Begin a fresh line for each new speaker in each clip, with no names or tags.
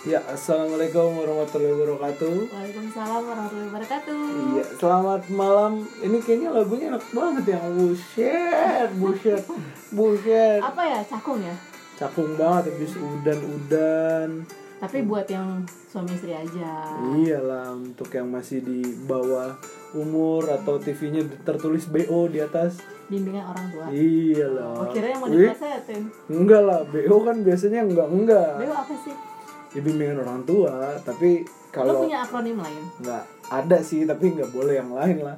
Ya, assalamualaikum warahmatullahi wabarakatuh.
Waalaikumsalam warahmatullahi wabarakatuh.
Iya, selamat malam. Ini kayaknya lagunya enak banget yang buset, buset, buset.
Apa ya cakung ya?
Cakung banget habis udan-udan. Hmm.
Tapi buat yang suami istri
Iya.
aja.
Iyalah, untuk yang masih di bawah umur atau TV-nya tertulis BO di atas.
Bimbingan orang tua.
Iya. Iyalah.
Oh, kira yang mau
Ih,
diplesetin.
Enggak lah, BO kan biasanya enggak-enggak.
Lu apa sih?
Ya bimbingan orang tua, tapi
Lu
kalau
punya akronim lain?
enggak ada sih, tapi enggak boleh yang lain lah.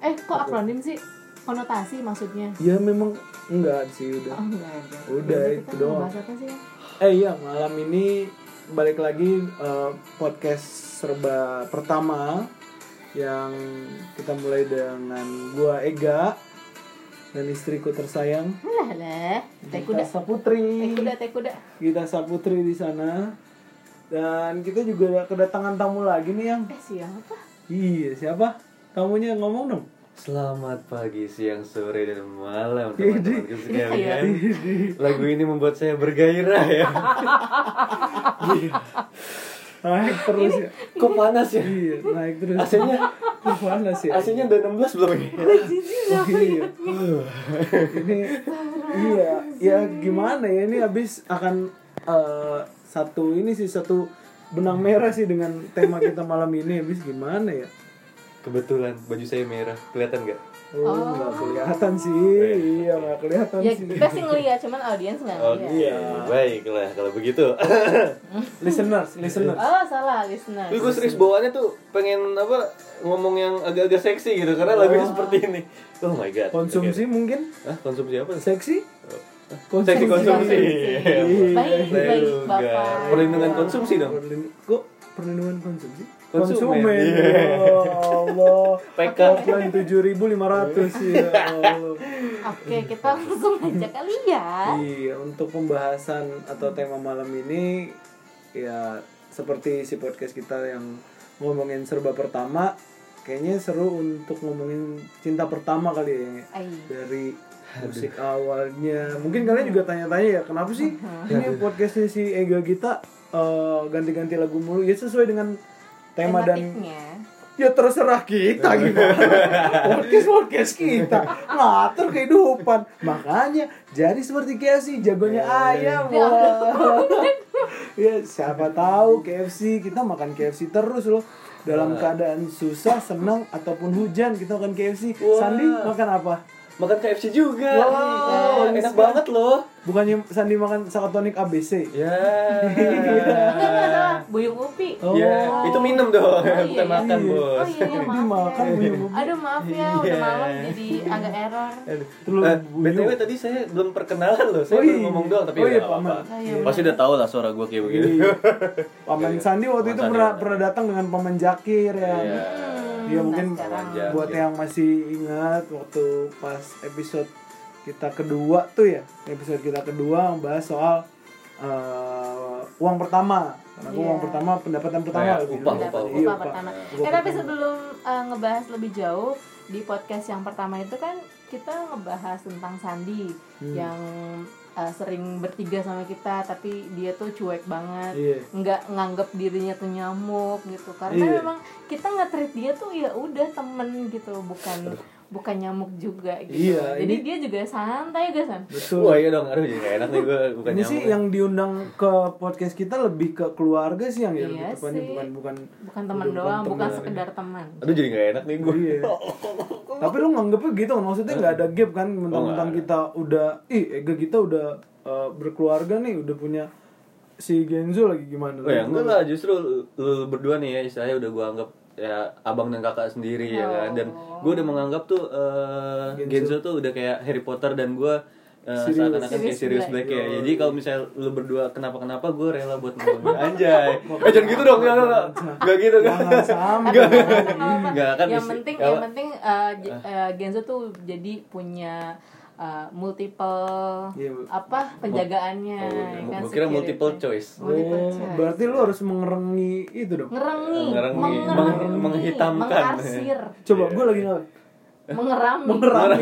Eh, kok akronim sih? Konotasi maksudnya.
Ya memang enggak sih udah.
Oh, enggak ada.
Udah,
Jadi
itu
kita
doang.
Bahas apa sih?
Eh iya malam ini balik lagi eh, podcast serba pertama yang kita mulai dengan gua Ega dan istriku tersayang
Lah, lah. Teh
Gita
kuda. Teh
Saputri.
kuda, teh kuda.
Gita Saputri di sana. Dan kita juga kedatangan tamu lagi nih yang
Eh, siapa?
iya siapa? Tamunya ngomong dong.
Selamat pagi, siang, sore, dan malam
Idi.
teman-teman sekalian. Lagu ini membuat saya bergairah ya.
Naik terus ya.
Kok panas ya?
Iya, naik terus.
AC-nya
Wah, panas ya.
AC-nya udah 16 belum ya?
Oh, iya. ini iya ya gimana ya ini habis akan eh, satu ini sih satu benang merah sih dengan tema kita malam ini habis gimana ya
Kebetulan baju saya merah, kelihatan nggak?
oh nggak kelihatan sih iya nggak kelihatan
Ya,
sih
kita sih ngeliat, cuman audiens nggak
Oh,
Oke,
ngeliat.
iya.
baiklah kalau begitu.
listeners listeners
Oh, salah, listener.
Tapi gue serius bawaannya tuh pengen apa ngomong yang agak-agak seksi gitu karena lagunya seperti ini. Oh my god.
konsumsi mungkin
Oke. Hah, konsumsi apa?
seksi
Seksi konsumsi.
Iya.
Baik, baik,
Lalu,
Bapak.
guys. Perlindungan konsumsi dong.
Perlin- kok perlindungan konsumsi
Konsumen.
ya Allah
PK.
hotline tujuh ribu lima ratus ya Allah
Oke, kita langsung aja kali ya.
Iya, untuk pembahasan atau tema malam ini ya seperti si podcast kita yang ngomongin serba pertama, kayaknya seru untuk ngomongin cinta pertama kali ya
Ay.
dari musik awalnya. Mungkin kalian juga tanya-tanya ya, kenapa sih ini podcastnya si Ega Gita eh, ganti-ganti lagu mulu? Ya sesuai dengan tema dan
Tematiknya.
ya terserah kita gimana podcast podcast kita ngatur kehidupan makanya jadi seperti KFC jagonya
Eh.
ayam wah ya siapa tahu KFC kita makan KFC terus loh dalam
Eh.
keadaan susah senang ataupun hujan kita makan KFC
Wah.
Sandi makan apa
Makan KFC juga.
Wow,
enak banget loh.
bukannya Sandi makan sakatonik ABC
Ya.
Ya.
Enggak, enggak salah. Buyung Upi.
Oh.
Ya, itu minum dong,
iya,
bukan
iya.
makan,
Oh iya,
Bos.
iya,
Ini
maaf
makan
ya.
buyung Upi.
Aduh, maaf ya, udah malam jadi agak error.
Telur
Eh,
buyung.
BTW tadi saya belum perkenalan loh, saya
Oh
baru
iya.
ngomong doang tapi
Oh iya,
nggak apa-apa.
Paman.
Oh iya,
Pasti udah tau lah suara gue
Iya,
kayak begitu.
Paman Sandi waktu
Iya. Paman
itu
Sandi,
pernah
Paman.
pernah datang dengan Paman Jakir ya.
Iya.
Iya mungkin
Nah, sekarang.
Wajar.
buat
Iya.
yang masih ingat waktu pas episode kita kedua tuh ya episode kita kedua membahas soal eh, uang pertama karena gua
Iya.
uang pertama pendapatan pertama
Kayak
lebih
upah,
lebih-
Dapat
upah,
iya,
upah pertama. Eh, tapi sebelum eh, ngebahas lebih jauh di podcast yang pertama itu kan kita ngebahas tentang Sandi
Hmm.
yang eh, sering bertiga sama kita tapi dia tuh cuek banget.
iya
nggak nganggap dirinya tuh nyamuk gitu karena
Iya.
memang kita nggak treat dia tuh ya udah temen gitu bukan bukan nyamuk juga gitu
Iya,
jadi
ini-
dia juga santai guys kan
betul
Wah iya dong, aduh jadi nggak enak nih gue bukan
ini sih
nyamuk.
yang diundang ke podcast kita lebih ke keluarga sih yang ya lebih
Iya
tepatnya
sih.
bukan bukan
bukan teman
Bukan
doang
temen,
bukan
iya.
sekedar teman
Aduh jadi nggak enak nih gue.
Iya. Tapi lu nganggepnya gitu kan maksudnya nggak ada gap kan mentang-mentang
Oh, nggak ada.
kita udah ih Ega kita udah eh, berkeluarga nih udah punya si Genzo lagi gimana?
Oh ya enggak lah, justru lu, lu berdua nih ya istilahnya udah gue anggap ya abang dan kakak sendiri ya kan dan gue udah menganggap tuh eh, Genzo. tuh udah kayak Harry Potter dan gue seakan-akan kayak serius Black ya. Jadi kalau misalnya lu berdua kenapa kenapa gue rela buat ngomongin anjay. Eh jangan gitu dong, enggak enggak enggak. Enggak gitu kan.
Jangan sampai.
Enggak.
Nggak apa-apa.
Enggak kan.
yang
isi- Ah.
penting
apa?
yang penting uh, J- uh, Genzo tuh jadi punya uh, multiple
Iya, Bu.
apa penjagaannya
Oh,
ya
iya.
kan,
Gua kira
security.
multiple choice.
Multiple
Oh,
choice.
berarti lu harus mengerengi itu dong.
ngerengi,
Ngerengi.
mengerengi,
Meng- menghitamkan.
mengarsir,
Coba gue
Iya.
lagi nggak.
mengerami,
Mengerami.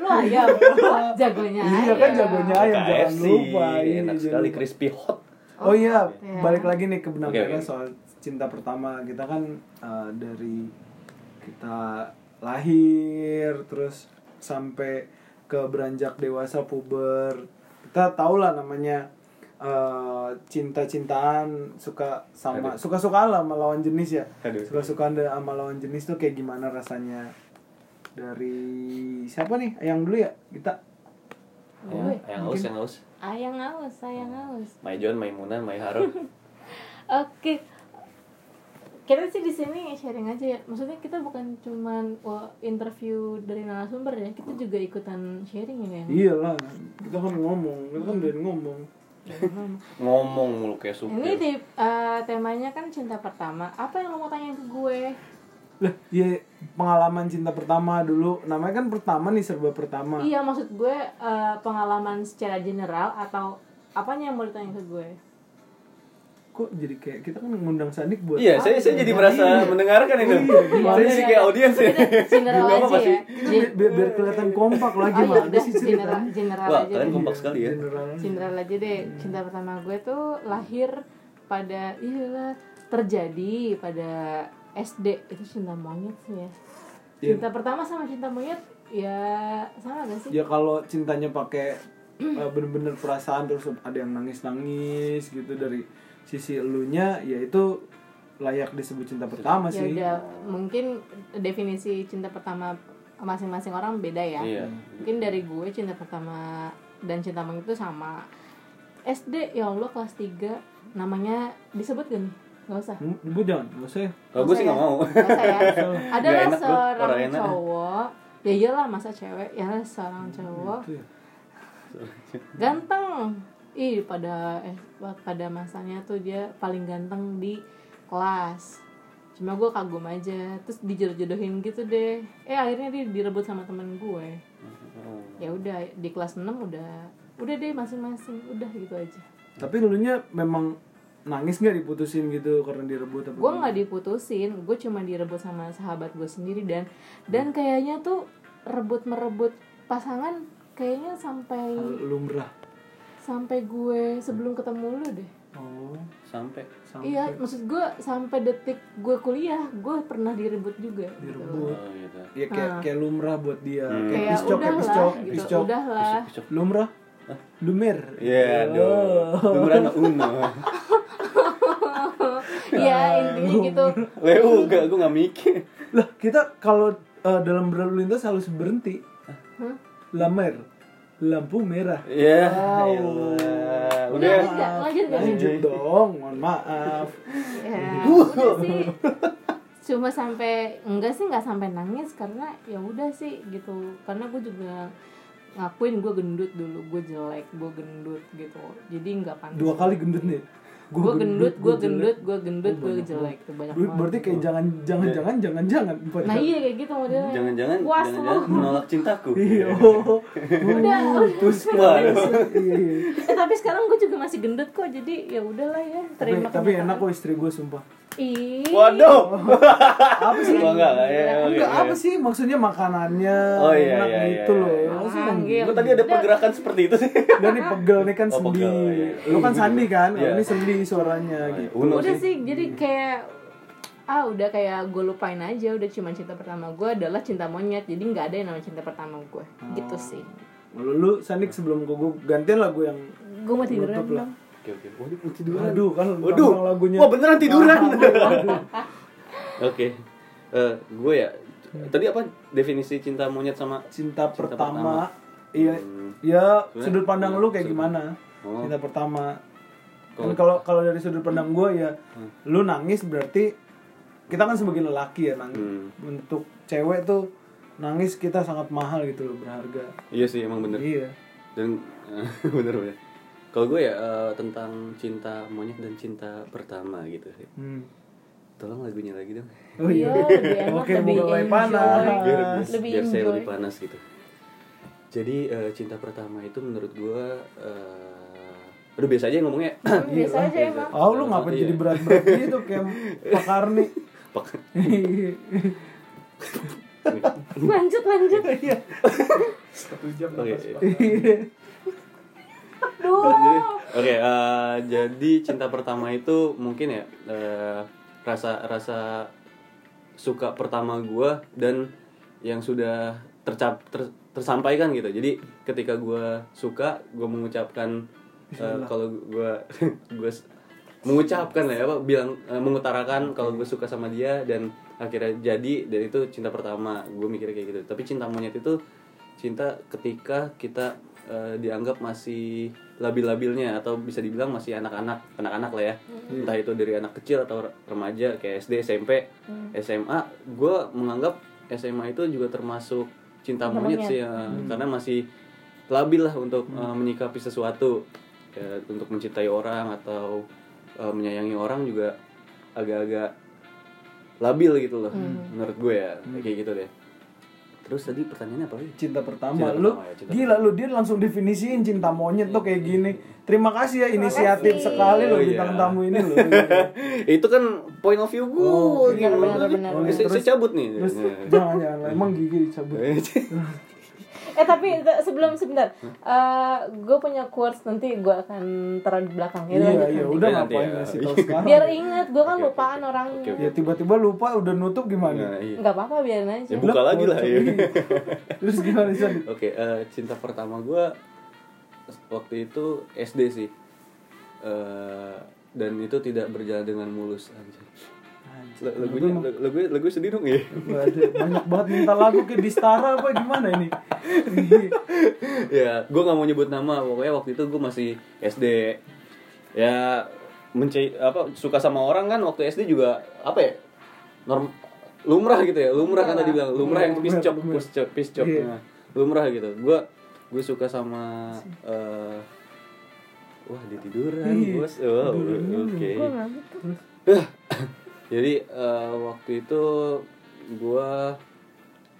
lu ayam, jagonya
Iya kan jagonya ayam jangan
KFC,
lupa. Iya,
enak
jangan
sekali
lupa.
crispy hot.
Oh, iya,
Iya.
balik lagi nih ke benang
Oke,
merah
oke.
soal cinta pertama. Kita kan eh, dari kita lahir terus sampai ke beranjak dewasa puber. Kita tau lah namanya eh, cinta-cintaan suka sama suka-sukaan lah sama lawan jenis ya.
Aduh.
Suka-sukaan de- sama lawan jenis tuh kayak gimana rasanya? Dari siapa nih? Yang dulu ya? Kita
Ya, yang haus, yang haus.
Ayang aus, ayang aus.
Mai John, Mai Muna, Mai Harun.
Oke. Kita sih di sini sharing aja ya. Maksudnya kita bukan cuman wah, interview dari narasumber ya, kita juga ikutan sharing ya.
Iya.
Yang.
Iyalah, Iya kita kan ngomong, kita kan udah ngomong.
Ngomong mulu kayak
Ini
supir.
di eh, temanya kan cinta pertama. Apa yang lo mau tanya ke gue?
Lah, ya pengalaman cinta pertama dulu. Namanya kan pertama nih serba pertama.
Iya, maksud gue eh, pengalaman secara general atau apanya yang mau ditanya ke gue?
Kok jadi kayak kita kan ngundang Sandik buat
Iya, saya saya jadi
Iya.
merasa mendengarkan itu. Saya jadi kayak audiens ya.
General
Gak apa-apa
aja
sih.
ya.
biar, biar, Kan biar kelihatan kompak lagi
Oh, iya,
mana
udah,
sih
general,
ceritanya.
general
Wah,
aja.
kalian
deh.
kompak sekali ya.
General.
General aja deh. Cinta pertama gue tuh lahir pada iyalah terjadi pada SD itu cinta monyet sih ya. Cinta pertama sama cinta monyet ya sama gak sih?
Ya kalau cintanya pakai eh, bener-bener perasaan terus ada yang nangis-nangis gitu dari sisi elunya ya itu layak disebut cinta pertama
ya
sih.
udah mungkin definisi cinta pertama masing-masing orang beda ya
Iya.
mungkin dari gue cinta pertama dan cinta monyet itu sama SD ya Allah kelas 3 namanya disebut gak nih nggak usah
Hmm, Gue jangan, gak usah ya.
Kalau gue sih nggak mau.
Nggak usah ya ada
Nggak
lah
enak, Bro.
seorang
Orang enak.
cowok ya iyalah masa cewek ya ada seorang cowok
Itu ya.
ganteng ih pada eh, pada masanya tuh dia paling ganteng di kelas cuma gue kagum aja terus dijodoh-jodohin gitu deh eh akhirnya dia direbut sama temen gue ya udah di kelas 6 udah udah deh masing-masing udah gitu aja
Tapi dulunya memang nangis nggak diputusin gitu karena direbut apa
gue nggak diputusin gue cuma direbut sama sahabat gue sendiri dan dan kayaknya tuh rebut merebut pasangan kayaknya sampai
lumrah.
sampai gue sebelum ketemu lu deh
Oh,
Sampai.
sampai
Iya, maksud gue sampai detik gue kuliah, gue pernah direbut juga. gitu.
direbut.
Oh, gitu.
Ya kayak kayak lumrah buat dia. Kayak
Hmm.
Kayak
piscok, kayak
udahlah,
piscok,
gitu,
piscok.
udahlah.
Lumrah. Oh. Lumer.
Iya, aduh. Umuran Uno.
Iya, intinya gitu.
Leo gak, gue gak mikir.
Lah, kita kalau eh, dalam berlalu lintas harus berhenti.
Hah?
Lamer. Lampu merah.
Iya.
Wow.
elah.
Udah,
Udah.
lanjut nggak? lanjut nggak?
Lanjut dong, mohon maaf.
Ya,
Iya.
udah sih. Cuma sampai enggak sih nggak sampai nangis karena ya udah sih gitu. Karena gue juga ngakuin gue gendut dulu, gue jelek, gue gendut gitu. Jadi nggak pantas.
Dua kali gendut nih.
Gue
Gua
gendut, gue
jelek.
gendut, gue gendut, gue
banyak
jelek. Itu banyak
Ber- Berarti
banget.
kayak jangan jangan jangan jangan jangan.
Nah iya kayak gitu modelnya.
Jangan-jangan,
Puas
jangan-jangan
lu.
menolak cintaku.
Iya. oh.
Udah, udah.
Waduh.
Iya, iya.
Eh, tapi sekarang gue juga masih gendut kok jadi ya udahlah ya
Tapi,
terima
tapi
kenyataan.
enak kok istri gue sumpah.
Ih.
Waduh.
Apa sih?
Gua enggak, ya,
Enggak apa sih maksudnya makanannya
Oh, iya,
enak
iya, iya,
gitu
iya.
loh. Masa yang-
Orang gila.
Gue ya. tadi ada pergerakan seperti itu sih.
Enggak nih pegel nih kan
Oh,
sendi.
pegel, iya, iya.
Lu kan sandi kan?
Iya.
Kalau ini sendi suaranya gitu.
Uno
udah sih
sih.
jadi kayak ah udah kayak gue lupain aja udah cuma cinta pertama gue adalah cinta monyet jadi nggak ada yang namanya cinta pertama gue
Oh.
gitu sih
Lu lu sandik sebelum gue, gue gantian lagu yang
gue mau tiduran
Tutup lah.
dong
Oke, oke. Waduh, tiduran.
Aduh kan
Waduh.
gampang lagunya.
Wah, beneran tiduran. Oke. Eh, gue ya. Tadi apa definisi cinta monyet sama
Cinta
pertama.
pertama. Iya,
Hmm.
ya
Sebenarnya-
sudut pandang lu kayak
sudut-
gimana?
Oh.
Cinta pertama.
Kalau-
Kan kalau kalau dari sudut pandang gue ya,
Hmm.
lu nangis berarti kita kan sebagai lelaki ya nangis.
Hmm.
Untuk cewek tuh nangis kita sangat mahal gitu loh berharga.
Iya sih, emang bener.
Iya.
dan eh, bener bener kalau gue ya eh, tentang cinta monyet dan cinta pertama gitu sih
Hmm.
tolong lagunya lagi dong
Oh iya.
Yo, lebih enak,
Oke,
lebih
mulai
enjoy.
panas.
lebih
biar saya
enjoy
lebih panas gitu jadi eh, cinta pertama itu menurut gue eh, aduh biasa aja ngomongnya
Hmm, biasa aja emang
Oh lu ngapain jadi berat-berat gitu kayak Pak Karni
Pak.
lanjut lanjut
Iya
Oke. Jadi, Oke, eh, jadi cinta pertama itu mungkin ya eh, rasa rasa suka pertama gua dan yang sudah tercap ter- tersampaikan gitu. Jadi ketika gua suka, gua mengucapkan eh, kalau gua gua s- mengucapkan lah ya apa bilang eh, mengutarakan kalau gue suka sama dia dan akhirnya jadi dan itu cinta pertama gue mikirnya kayak gitu tapi cinta monyet itu cinta ketika kita eh, dianggap masih labil-labilnya atau bisa dibilang masih anak-anak anak-anak lah ya entah itu dari anak kecil atau re- remaja kayak SD SMP SMA gue menganggap SMA itu juga termasuk cinta monyet sih ya.
Hmm.
karena masih labil lah untuk eh, menyikapi sesuatu Ya, untuk mencintai orang atau eh, menyayangi orang juga agak-agak labil gitu loh
Hmm.
menurut gue ya kayak gitu deh terus tadi pertanyaannya apa lagi
cinta pertama
Cinta
lu
pertama ya, cinta
gila lu dia langsung definisiin cinta monyet tuh kayak gini terima kasih ya inisiatif sekali lo
Oh, iya.
bintang tamu ini lo
itu kan point of view gue
Oh,
iya, benar,
gimana sih?
benar,
Eh, saya- saya cabut nih
terus
Nah.
jangan jangan lah. emang gigi dicabut
Iya,
Iya,
eh tapi te- sebelum sebentar gue punya quotes nanti gue akan taruh di belakang
iya
ya, lanjut
iya
nanti.
udah
Nanti
ngapain
ya.
ngasih tau
Iya.
sekarang
biar ingat gue kan
Oke, oke,
lupaan
oke.
orangnya
Oke, oke.
ya tiba-tiba lupa udah nutup gimana
Nah, iya.
nggak apa-apa biarin aja
Ya, buka lagi lah ya.
terus gimana sih
Oke, eh, cinta pertama gue waktu itu SD sih, Eh, dan itu tidak berjalan dengan mulus. anjir. La- Lagunya, lagu- lagunya, lagunya sedih dong ya.
Waduh, banyak banget minta lagu ke Bistara apa gimana ini?
ya, gue nggak mau nyebut nama. Pokoknya waktu itu gue masih SD. Ya, menci apa suka sama orang kan waktu SD juga apa ya? Norm lumrah gitu ya. Lumrah kan tadi bilang lumrah yang piscop, piscop, piscop. Nah, lumrah gitu. Gue gue suka sama eh, wah dia tiduran bos. Wow, oke. Jadi eh, waktu itu gua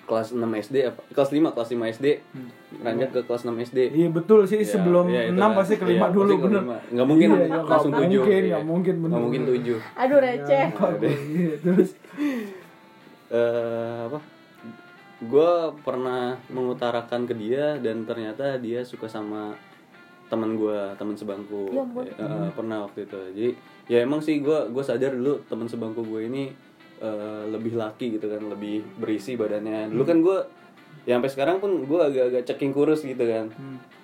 kelas 6 SD apa kelas 5 kelas 5 SD ranjak ke kelas 6 SD.
Hmm. Iya betul sih
Ya,
sebelum
ya, itu
6
kan.
pasti kelima
Iya,
dulu
pasti
bener.
kelima. Nggak mungkin
Iya, iya,
langsung
nggak
7.
mungkin, nggak mungkin, bener.
Nggak mungkin 7.
aduh receh
Bagus. Iya, terus
eh apa gue pernah mengutarakan ke dia dan ternyata dia suka sama teman gue teman sebangku Eh, eh, pernah waktu itu jadi ya emang sih gue gue sadar dulu teman sebangku gue ini eh, lebih laki gitu kan lebih berisi badannya dulu kan gue ya sampai sekarang pun gue agak-agak ceking kurus gitu kan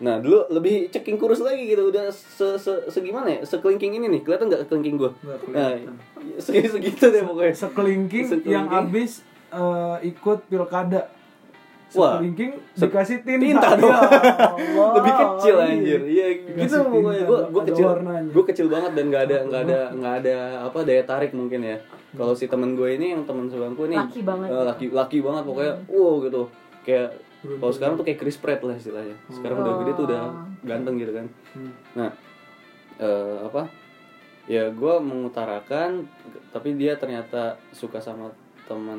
nah dulu lebih ceking kurus lagi gitu udah se, se, segimana ya sekelingking ini nih kelihatan nggak kelingking gue
Nggak
nah, segi- segitu deh pokoknya
sekelingking
Sekelingking.
yang abis eh, ikut pilkada.
Wah.
Sekelingking
Se-
dikasih tinta.
tinta dong.
Ya Allah.
lebih kecil
Iya.
anjir iya gitu
Dikasih
pokoknya
tinta,
gue gue
ada
kecil
warnanya.
gue kecil banget dan nggak ada nggak ada nggak ada apa daya tarik mungkin ya kalau si temen gue ini yang temen sebangku ini
Laki banget.
eh, laki laki banget pokoknya wow gitu kayak kalau sekarang tuh kayak Chris Pratt lah istilahnya sekarang udah gede tuh udah ganteng gitu kan nah eh, apa ya gue mengutarakan tapi dia ternyata suka sama teman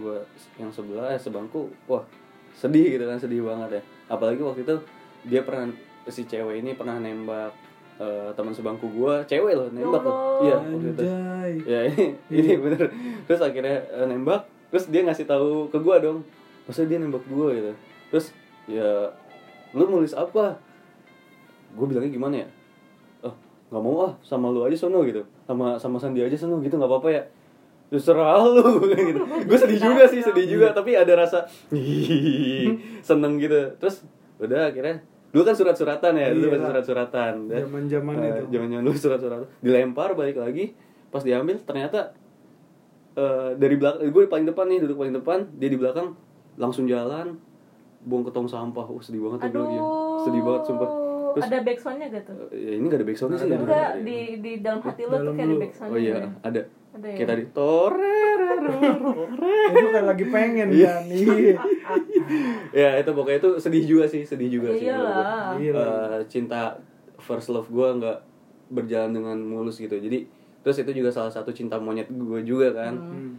gue yang sebelah eh, sebangku wah sedih gitu kan sedih banget ya apalagi waktu itu dia pernah si cewek ini pernah nembak eh, teman sebangku gue cewek loh nembak loh iya waktu itu
Anjay.
ya ini, ini bener terus akhirnya eh, nembak terus dia ngasih tahu ke gua dong masa dia nembak gua gitu terus ya lu nulis apa gue bilangnya gimana ya oh nggak mau ah sama lu aja sono gitu sama sama sandi aja sono gitu nggak apa-apa ya terus serah lu gitu. gue sedih juga sih sedih juga tapi ada rasa "Hihihi," seneng gitu terus udah akhirnya dulu kan surat-suratan ya dulu pasti surat-suratan Dan,
Zaman-zaman
eh,
itu.
zaman-zaman dulu surat-suratan dilempar balik lagi pas diambil ternyata eh, dari belakang gue paling depan nih duduk paling depan dia di belakang langsung jalan buang ke tong sampah oh sedih banget tuh gue lagi.
aduh
sedih banget sumpah terus
ada backsoundnya gak tuh
eh, ya ini gak ada backsoundnya sih ya,
enggak
bener-bener.
di di dalam hati lo tuh kayak ada backsoundnya
oh iya ada
Ada ya?
kayak tadi torerererere.
Itu kayak lagi pengen kan. Iya.
ya itu pokoknya itu sedih juga sih sedih juga
Iya
sih menurut gue.
Iyalah.
Iya
Eh, cinta first love gue nggak berjalan dengan mulus gitu jadi terus itu juga salah satu cinta monyet gue juga kan
Hmm.
Hmm.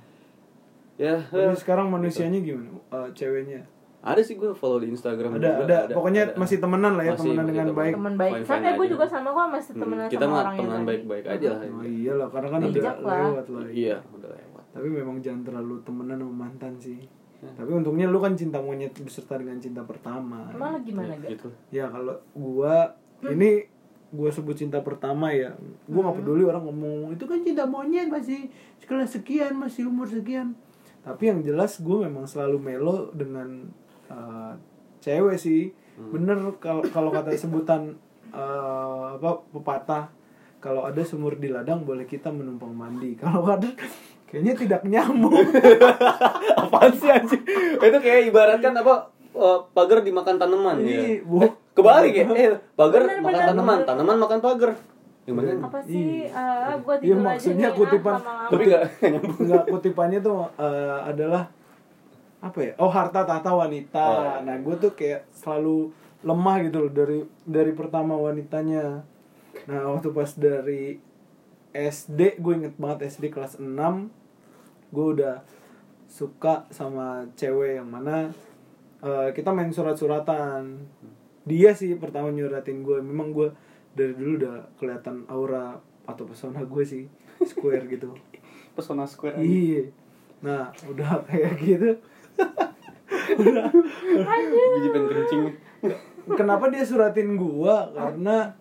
ya
Tapi
eh,
sekarang manusianya gimana? Eh, ceweknya.
ada sih gue follow di
Ada,
Instagram juga,
ada. Pokoknya masih temenan lah ya,
Masih-
temenan
masih
dengan baik.
teman baik
Fine-fine
sama eh, gue
aja.
juga sama gue masih
Hmm,
temenan sama
kita mah
orang yang
temenan
tadi.
baik-baik aja lah
Oh iyalah, karena kan udah
Bijak lah.
lewat lah.
iya udah lewat
Tapi memang jangan terlalu temenan sama mantan sih.
Iya.
Tapi untungnya lu kan cinta monyet beserta dengan cinta pertama.
emang lo gimana gak
gitu
Ya kalau gua ini gue sebut cinta pertama ya gue nggak peduli orang ngomong itu kan cinta monyet masih sekelas sekian masih umur sekian tapi yang jelas gue memang selalu melo dengan uh, cewek sih bener kalau kalau kata sebutan uh, apa pepatah kalau ada sumur di ladang boleh kita menumpang mandi kalau ada kayaknya tidak nyambung
Apaan sih anjing? Itu kayak ibaratkan apa eh, pagar dimakan tanaman
Ini,
ya.
bu-
Eh, kebalik ya. Eh, pagar
Bener,
makan
bener,
tanaman,
bener.
tanaman makan pagar. Gimana?
apa sih eh gue
Iya,
tidur aja
maksudnya
nih, ah,
kutipan-
lama-lama.
Tapi enggak nyambung.
nggak kutipannya tuh eh, adalah apa ya oh harta tahta wanita
Oh.
nah gue tuh kayak selalu lemah gitu loh dari dari pertama wanitanya nah waktu pas dari SD gue inget banget SD kelas 6 gue udah suka sama cewek yang mana eh, kita main surat-suratan dia sih pertama nyuratin gue memang gue dari dulu udah kelihatan aura atau pesona gue sih square gitu
Pesona Square.
Iya. Nah, udah kayak gitu. udah.
Biji pengen kencing.
Kenapa dia suratin gua? Karena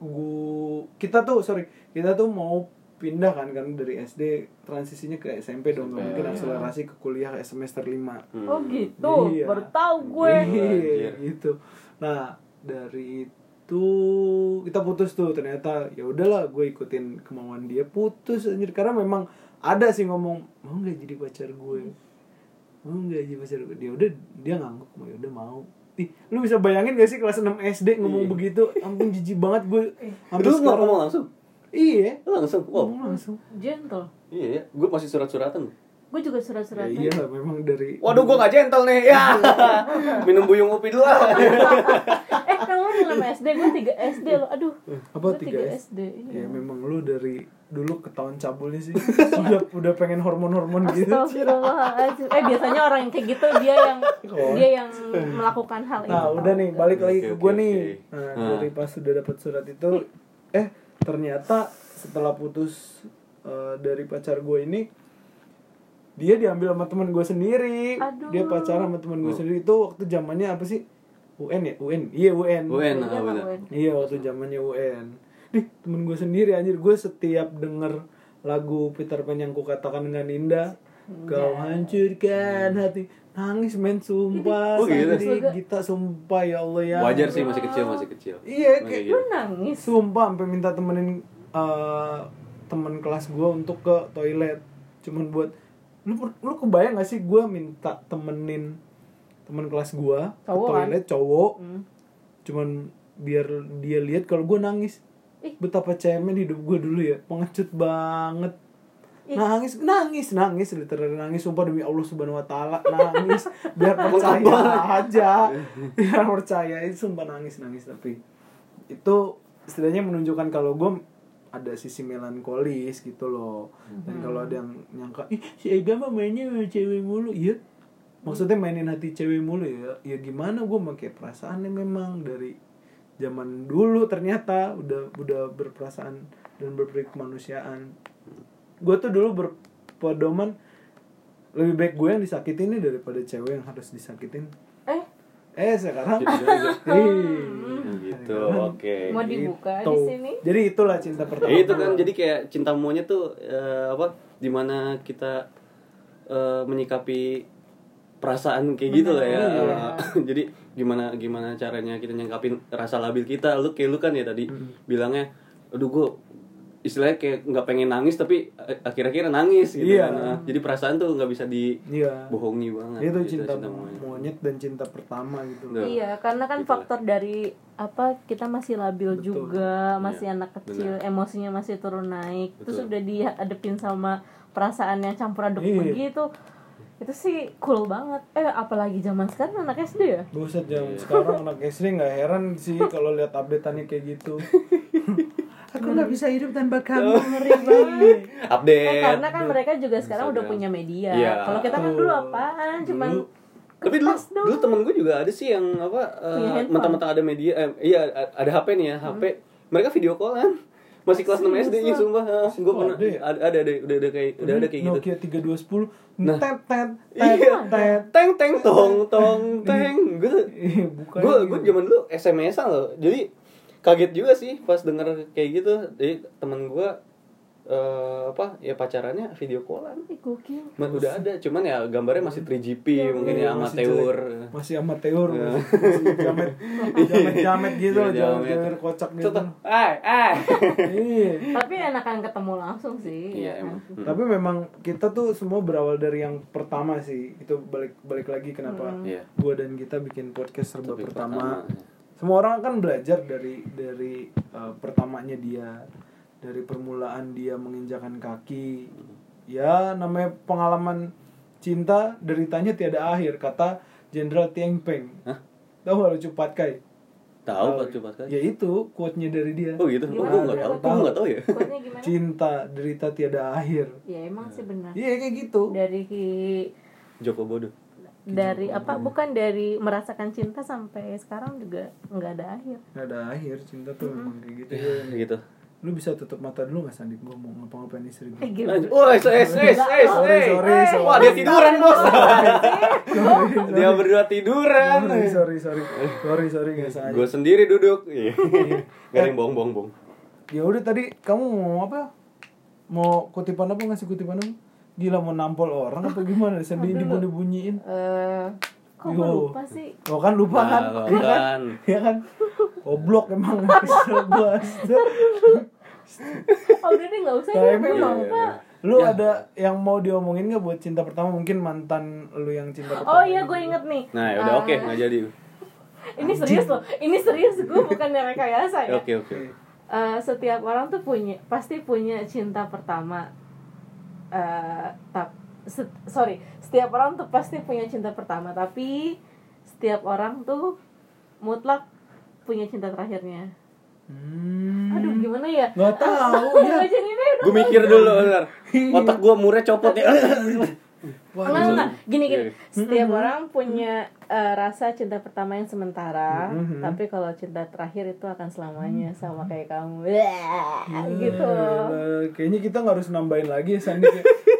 gua kita tuh sorry, kita tuh mau pindah kan karena dari SD transisinya ke SMP dong nggak mungkin akselerasi ke kuliah kayak semester 5
Hmm.
oh gitu
Iya.
baru tahu gue
Iya,
Anjir.
gitu. Nah, dari itu kita putus tuh ternyata ya udahlah gue ikutin kemauan dia putus anjir karena memang ada sih ngomong mau nggak jadi pacar gue mau nggak jadi pacar gue dia udah dia ngangguk mau ya udah mau Ih, lu bisa bayangin gak sih kelas 6 SD ngomong
Iya.
begitu ampun jijik banget gue
Itu
sampai
lu nggak
sekarang
ngomong langsung?
iya
Lu langsung. Wow.
ngomong langsung
gentle
Iya, iya. Gue masih surat-suratan.
gue juga
ya,
surat-surat
iya lah memang dari
Waduh, gue gak gentle nih. Ya. Minum buyung kopi dulu
Iya,
lah.
eh kalau lu dalam SD gue 3 SD lo aduh
apa
Gua
tiga S
SD
ya
iya.
memang lu dari dulu ketahuan cabulnya sih udah udah pengen hormon-hormon gitu
Astagfirullahaladzim Eh biasanya orang yang kayak gitu dia yang dia yang melakukan hal itu.
Oh. Nah, udah nih, balik
Oke,
lagi ke
oke,
gue
oke.
nih. Nah,
Nah.
dari pas sudah dapat surat itu, eh ternyata setelah putus eh, dari pacar gue ini, dia diambil sama teman gue sendiri.
Aduh.
Dia pacaran sama teman gue
Oh.
sendiri itu waktu zamannya apa sih? UN ya, UN. Iya, UN.
UN,
Iya,
ah,
Bang,
bener.
gue.
Iya, waktu zamannya UN. Dih, temen gue sendiri anjir, gue setiap denger lagu Peter Pan yang kukatakan dengan indah, kau hancurkan hati nangis men sumpah
Hmm. Oh, gitu.
Sandi, Gita sumpah ya Allah ya
Wajar sih masih kecil, masih kecil.
Iya,
Masih
kayak-
gitu.
lu nangis
Sumpah sampai minta temenin eh, temen kelas gue untuk ke toilet. Cuman buat lu lu kebayang gak sih gue minta temenin temen kelas gue ke
Cowok kan?
toilet cowok.
Hmm.
Cuman biar dia lihat kalau gue nangis.
Ih.
Betapa cemen hidup gue dulu ya, pengecut banget. Nangis, nangis, nangis, literally nangis Sumpah demi Allah subhanahu wa ta'ala Nangis, biar percaya aja Biar percaya, itu sumpah nangis, nangis Tapi itu setidaknya menunjukkan kalau gue ada sisi melankolis gitu loh dan kalau ada yang nyangka ih si Ega mah mainnya sama cewek mulu iya maksudnya mainin hati cewek mulu ya ya gimana gue pakai perasaannya memang dari zaman dulu ternyata udah udah berperasaan dan berperi kemanusiaan gue tuh dulu berpedoman lebih baik gue yang disakitin nih daripada cewek yang harus disakitin
eh
eh sekarang
Gitu aja.
Ih.
Gitu, oke.
Mau dibuka
Gitu.
di sini?
Jadi itulah cinta pertama.
Ya, itu kan jadi kayak cinta monyet tuh eh, apa dimana kita eh, menyikapi perasaan kayak gitu lah ya
iya.
jadi gimana gimana caranya kita nyangkapin rasa labil kita lu kayak lu kan ya tadi
Hmm.
bilangnya aduh gue istilahnya kayak nggak pengen nangis tapi eh, akhir-akhirnya nangis gitu
Iya.
kan. Nah, jadi perasaan tuh nggak bisa dibohongi
Iya.
banget
Itu
Gitu,
cinta,
monyet.
monyet dan cinta pertama gitu.
Betul.
Iya, karena kan
Gitu.
faktor dari apa kita masih labil
Betul.
juga, masih anak kecil, emosinya masih turun naik. Terus
Iya, Betul.
udah dihadapin sama perasaan yang campur aduk
Iya.
begitu. Itu sih cool banget. Eh, apalagi zaman sekarang anak SD ya.
Buset jam
Iya.
sekarang anak SD nggak heran sih kalau lihat updateannya kayak gitu. Iya. Aku nggak bisa hidup tanpa kamu ngeri banget.
update
Eh, karena kan mereka juga sekarang udah punya
Instagram.
media.
Iya.
Kalau kita kan
Betul.
dulu apaan? Cuman
Dulu.
tapi dulu,
kertas
dulu
doang.
temen gue juga ada sih yang apa eh,
Punya handphone.
mentang-mentang ada media eh, iya a- ada HP nih ya HP mereka video callan masih kelas 6 SD ya sumpah gue
Kok
pernah
ada ya?
ada ada ada udah ada kayak udah ada kayak gitu
Nokia 3210
Nah.
tet tet
Iya.
tet tet.
teng teng tong tong teng gue
Iya, bukan.
gue gue zaman dulu SMS-an loh jadi kaget juga sih pas denger kayak gitu jadi teman gua eh, apa ya pacarannya video callan
Ih, gokil.
Cuman udah ada cuman ya gambarnya masih 3GP mungkin
Iya,
ya
masih
amateur Ya.
jelek. masih amateur masih jamet jamet jamet gitu
Iya,
jamet
jamet.
jamet kocak gitu
Tuh, tuh. Ay, ay.
Iya.
Tapi enakan ketemu langsung sih.
Iya,
ya
emang.
kan?
Hmm.
tapi memang kita tuh semua berawal dari yang pertama sih itu balik balik lagi kenapa
Iya.
gua dan kita bikin podcast serba
Topik
pertama.
pertama. iya.
semua orang kan belajar dari dari eh, pertamanya dia dari permulaan dia menginjakan kaki ya namanya pengalaman cinta deritanya tiada akhir kata Jenderal Tieng Peng
Hah?
tahu nggak lucu patkai
Tahu Pak coba sekali.
ya itu quote-nya dari dia
Oh gitu. Oh, gua enggak tahu. Gua enggak tahu ya.
Kuatnya gimana?
cinta derita tiada akhir
Ya emang sih benar.
iya kayak gitu
Dari ki-
Joko Bodoh.
dari apa bukan dari merasakan cinta sampai sekarang juga nggak ada akhir.
tiada akhir cinta tuh memang kayak gitu ya.
Gitu.
lu bisa tutup mata dulu nggak Sandi gua mau ngapa-ngapain istri gue
Eh, gimana?
Oh, es, es, es, es,
Sorry,
eh.
sorry, sorry.
Wah, dia tiduran, Bos. Dia berdua
sorry
ya?
tiduran.
sorry sorry sorry sorry Eh. nggak sengaja
Gue sendiri duduk. Iya. Gak ada yang bohong, bohong, bohong.
ya udah tadi kamu mau apa mau kutipan apa ngasih kutipan apa gila mau nampol orang apa gimana sedih mau dibunyiin
Eh, kok gue
Yo.
lupa sih?
Oh kan lupa kan?
Nah,
Iya kan?
kan.
Iya kan? Goblok emang Kesel gua.
Oh udah deh nggak usah
Nah,
ya.
emang-
Gue mau-
Lu ada yang mau diomongin gak buat cinta pertama? Mungkin mantan lu yang cinta pertama
Oh iya gue inget nih.
Nah, ya udah oke,
Ah.
nggak jadi.
Ini serius loh. Ini serius gue bukan rekayasa ya.
Oke, oke.
Eh, setiap orang tuh punya pasti punya cinta pertama Eh, tap se- sorry setiap orang tuh pasti punya cinta pertama tapi setiap orang tuh mutlak punya cinta terakhirnya
Hmm.
aduh gimana ya
Gak tau ya
iya.
Gua jadi deh
Gue mikir dulu, bentar.
Iya.
Otak gue murah copot ya.
Wah,
Enggak, enggak. Gini gini.
Iya.
Setiap orang punya eh, rasa cinta pertama yang
Hmm,
sementara,
Mhm.
tapi kalau cinta terakhir itu akan selamanya sama kayak kamu. Wah,
Hmm,
gitu.
eh, Kayaknya kita gak harus nambahin lagi ya Sandi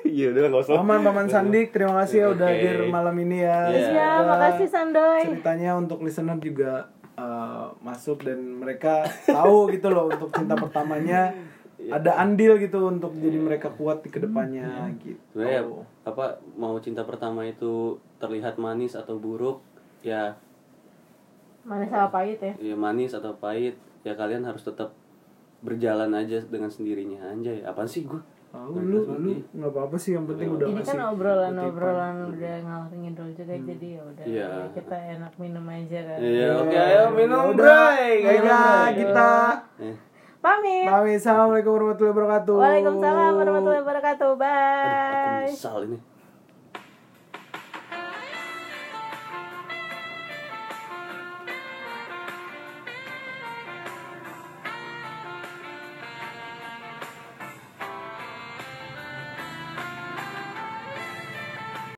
Iya, udah nggak usah.
Paman Paman Sandik, terima kasih ya udah
Oke.
hadir malam ini ya.
Iya.
Ya,
Semoga
makasih Sandoy.
Ceritanya untuk listener juga eh, masuk dan mereka tahu gitu loh untuk cinta pertamanya
Iya.
ada andil gitu untuk jadi mereka kuat di kedepannya
Iya.
gitu.
Sebenarnya apa mau cinta pertama itu terlihat manis atau buruk? Ya,
Mana sama pahit ya?
ya manis atau pahit ya kalian harus tetap berjalan aja dengan sendirinya anjay apaan sih gue
Tahu lu lu nggak apa-apa sih yang penting
Iya.
udah
Ini
ngasih
kan obrolan
kutipan.
obrolan udah ngalor ngidul juga jadi ya udah
Iya.
kita enak minum aja kan.
iya oke ayo minum bray
Ya udah, kita
Eh,
Pamit.
pamit. Assalamualaikum warahmatullahi wabarakatuh.
Waalaikumsalam warahmatullahi wabarakatuh.
aku
Bye.
menyesal ini